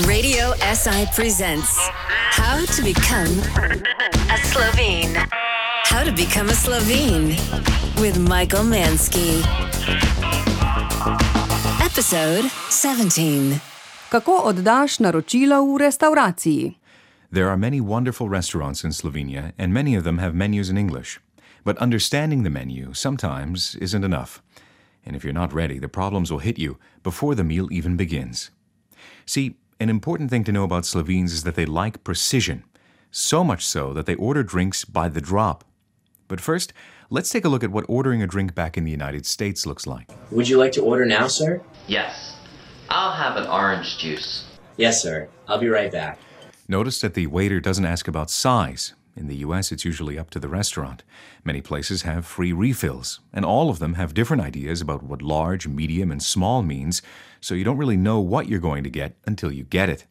Radio SI presents How to Become a Slovene. How to Become a Slovene with Michael Mansky. Episode 17. Kako oddaš naročila v restauraciji? There are many wonderful restaurants in Slovenia, and many of them have menus in English. But understanding the menu sometimes isn't enough. And if you're not ready, the problems will hit you before the meal even begins. See, an important thing to know about Slovenes is that they like precision, so much so that they order drinks by the drop. But first, let's take a look at what ordering a drink back in the United States looks like. Would you like to order now, sir? Yes. I'll have an orange juice. Yes, sir. I'll be right back. Notice that the waiter doesn't ask about size. In the US, it's usually up to the restaurant. Many places have free refills, and all of them have different ideas about what large, medium, and small means, so you don't really know what you're going to get until you get it.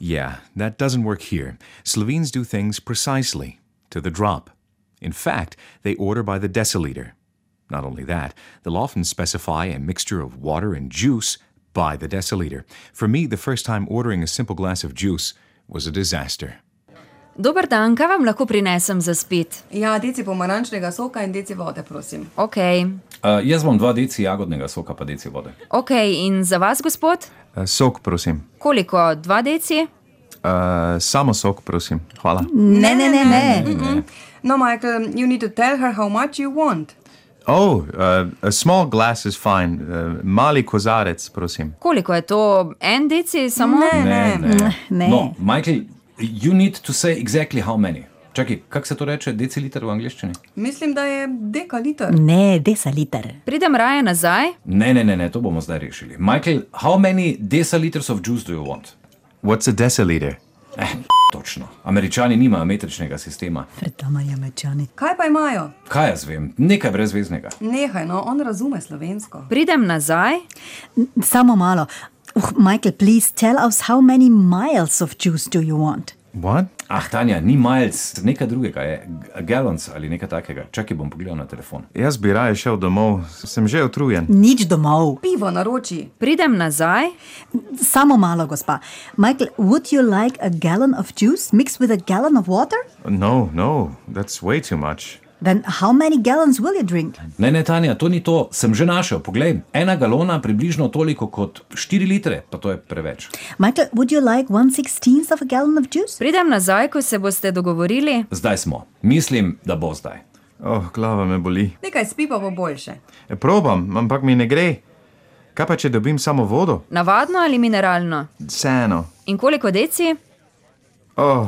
Yeah, that doesn't work here. Slovenes do things precisely, to the drop. In fact, they order by the deciliter. Not only that, they'll often specify a mixture of water and juice by the deciliter. For me, the first time ordering a simple glass of juice was a disaster. Dober dan, kaj vam lahko prinesem za spit? Ja, deci pomarančnega soka in deci vode, prosim. Ok, Uh, jaz bom dva deci jagodnega soka, pa deci vode. ok, in za vas, gospod? Uh, sok, prosim. Koliko? Dva deci? Uh, samo sok, prosim. Hvala. Ne, ne, ne, ne. No, Michael, you need to tell her how much you want. Oh, uh, a small glass is fine. Uh, mali kozarec, prosim. Koliko je to? En deci, samo Ne, ne. ne. ne. No, Michael, you need to say exactly how many. Čakaj, kako se to reče, deciliter v angleščini? Mislim, da je dekaliter. Mm. Ne, desaliter. pridem raje nazaj. Ne, ne, ne, ne, to bomo zdaj rešili. Michael, how many deciliters of juice do you want? Eh, What's a deciliter? Točno. Američani nimajo metričnega sistema. Predamarja mečani. Kaj pa imajo? Kaj jaz vem, nekaj brezveznega. Nehaj, no, on razume slovensko. Pridem nazaj. Samo malo. Uh, Michael, please tell us how many miles of juice do you want? What? Ah, Tanja, ni miles, nekaj drugega je, g- gallons ali nekaj takega. Čakaj, bom pogledal na telefon. Jaz bi raje šel domov, sem že utrujen. Nič domov. Pivo naroči. Pridem nazaj. Samo malo, gospa. Michael, would you like a gallon of juice mixed with a gallon of water? No, no, that's way too much. Then how many gallons will you drink? Ne, ne, Tanja, to ni to, sem že našel. Poglej, ena galona približno toliko kot 4 litre, pa to je preveč. Michael, would you like one sixteenth of a gallon of juice? Pridem nazaj, ko se boste dogovorili. Zdaj smo. Mislim, da bo zdaj. Oh, glava me boli. Nekaj s pivo bo boljše. E, probam, ampak mi ne gre. Kaj pa, če dobim samo vodo? Navadno ali mineralno? Sano. In koliko deci? Oh.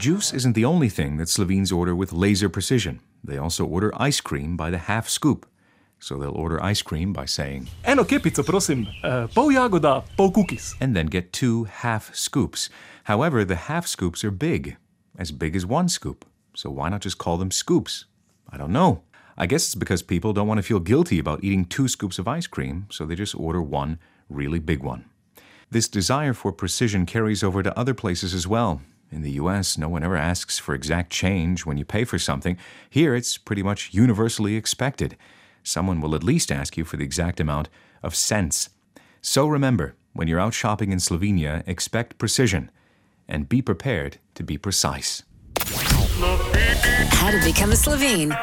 Juice isn't the only thing that Slovenes order with laser precision. They also order ice cream by the half scoop. So they'll order ice cream by saying, Eno kepico, prosim, eh, pol jagoda, pol kukis. and then get two half scoops. However, the half scoops are big, as big as one scoop. So why not just call them scoops? I don't know. I guess it's because people don't want to feel guilty about eating two scoops of ice cream, so they just order one really big one. This desire for precision carries over to other places as well. In the US, no one ever asks for exact change when you pay for something. Here, it's pretty much universally expected. Someone will at least ask you for the exact amount of cents. So remember, when you're out shopping in Slovenia, expect precision and be prepared to be precise. How to Become a Slovene.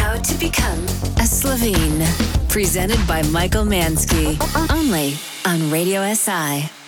How to Become a Slovene. Presented by Michael Mansky. Only on Radio SI.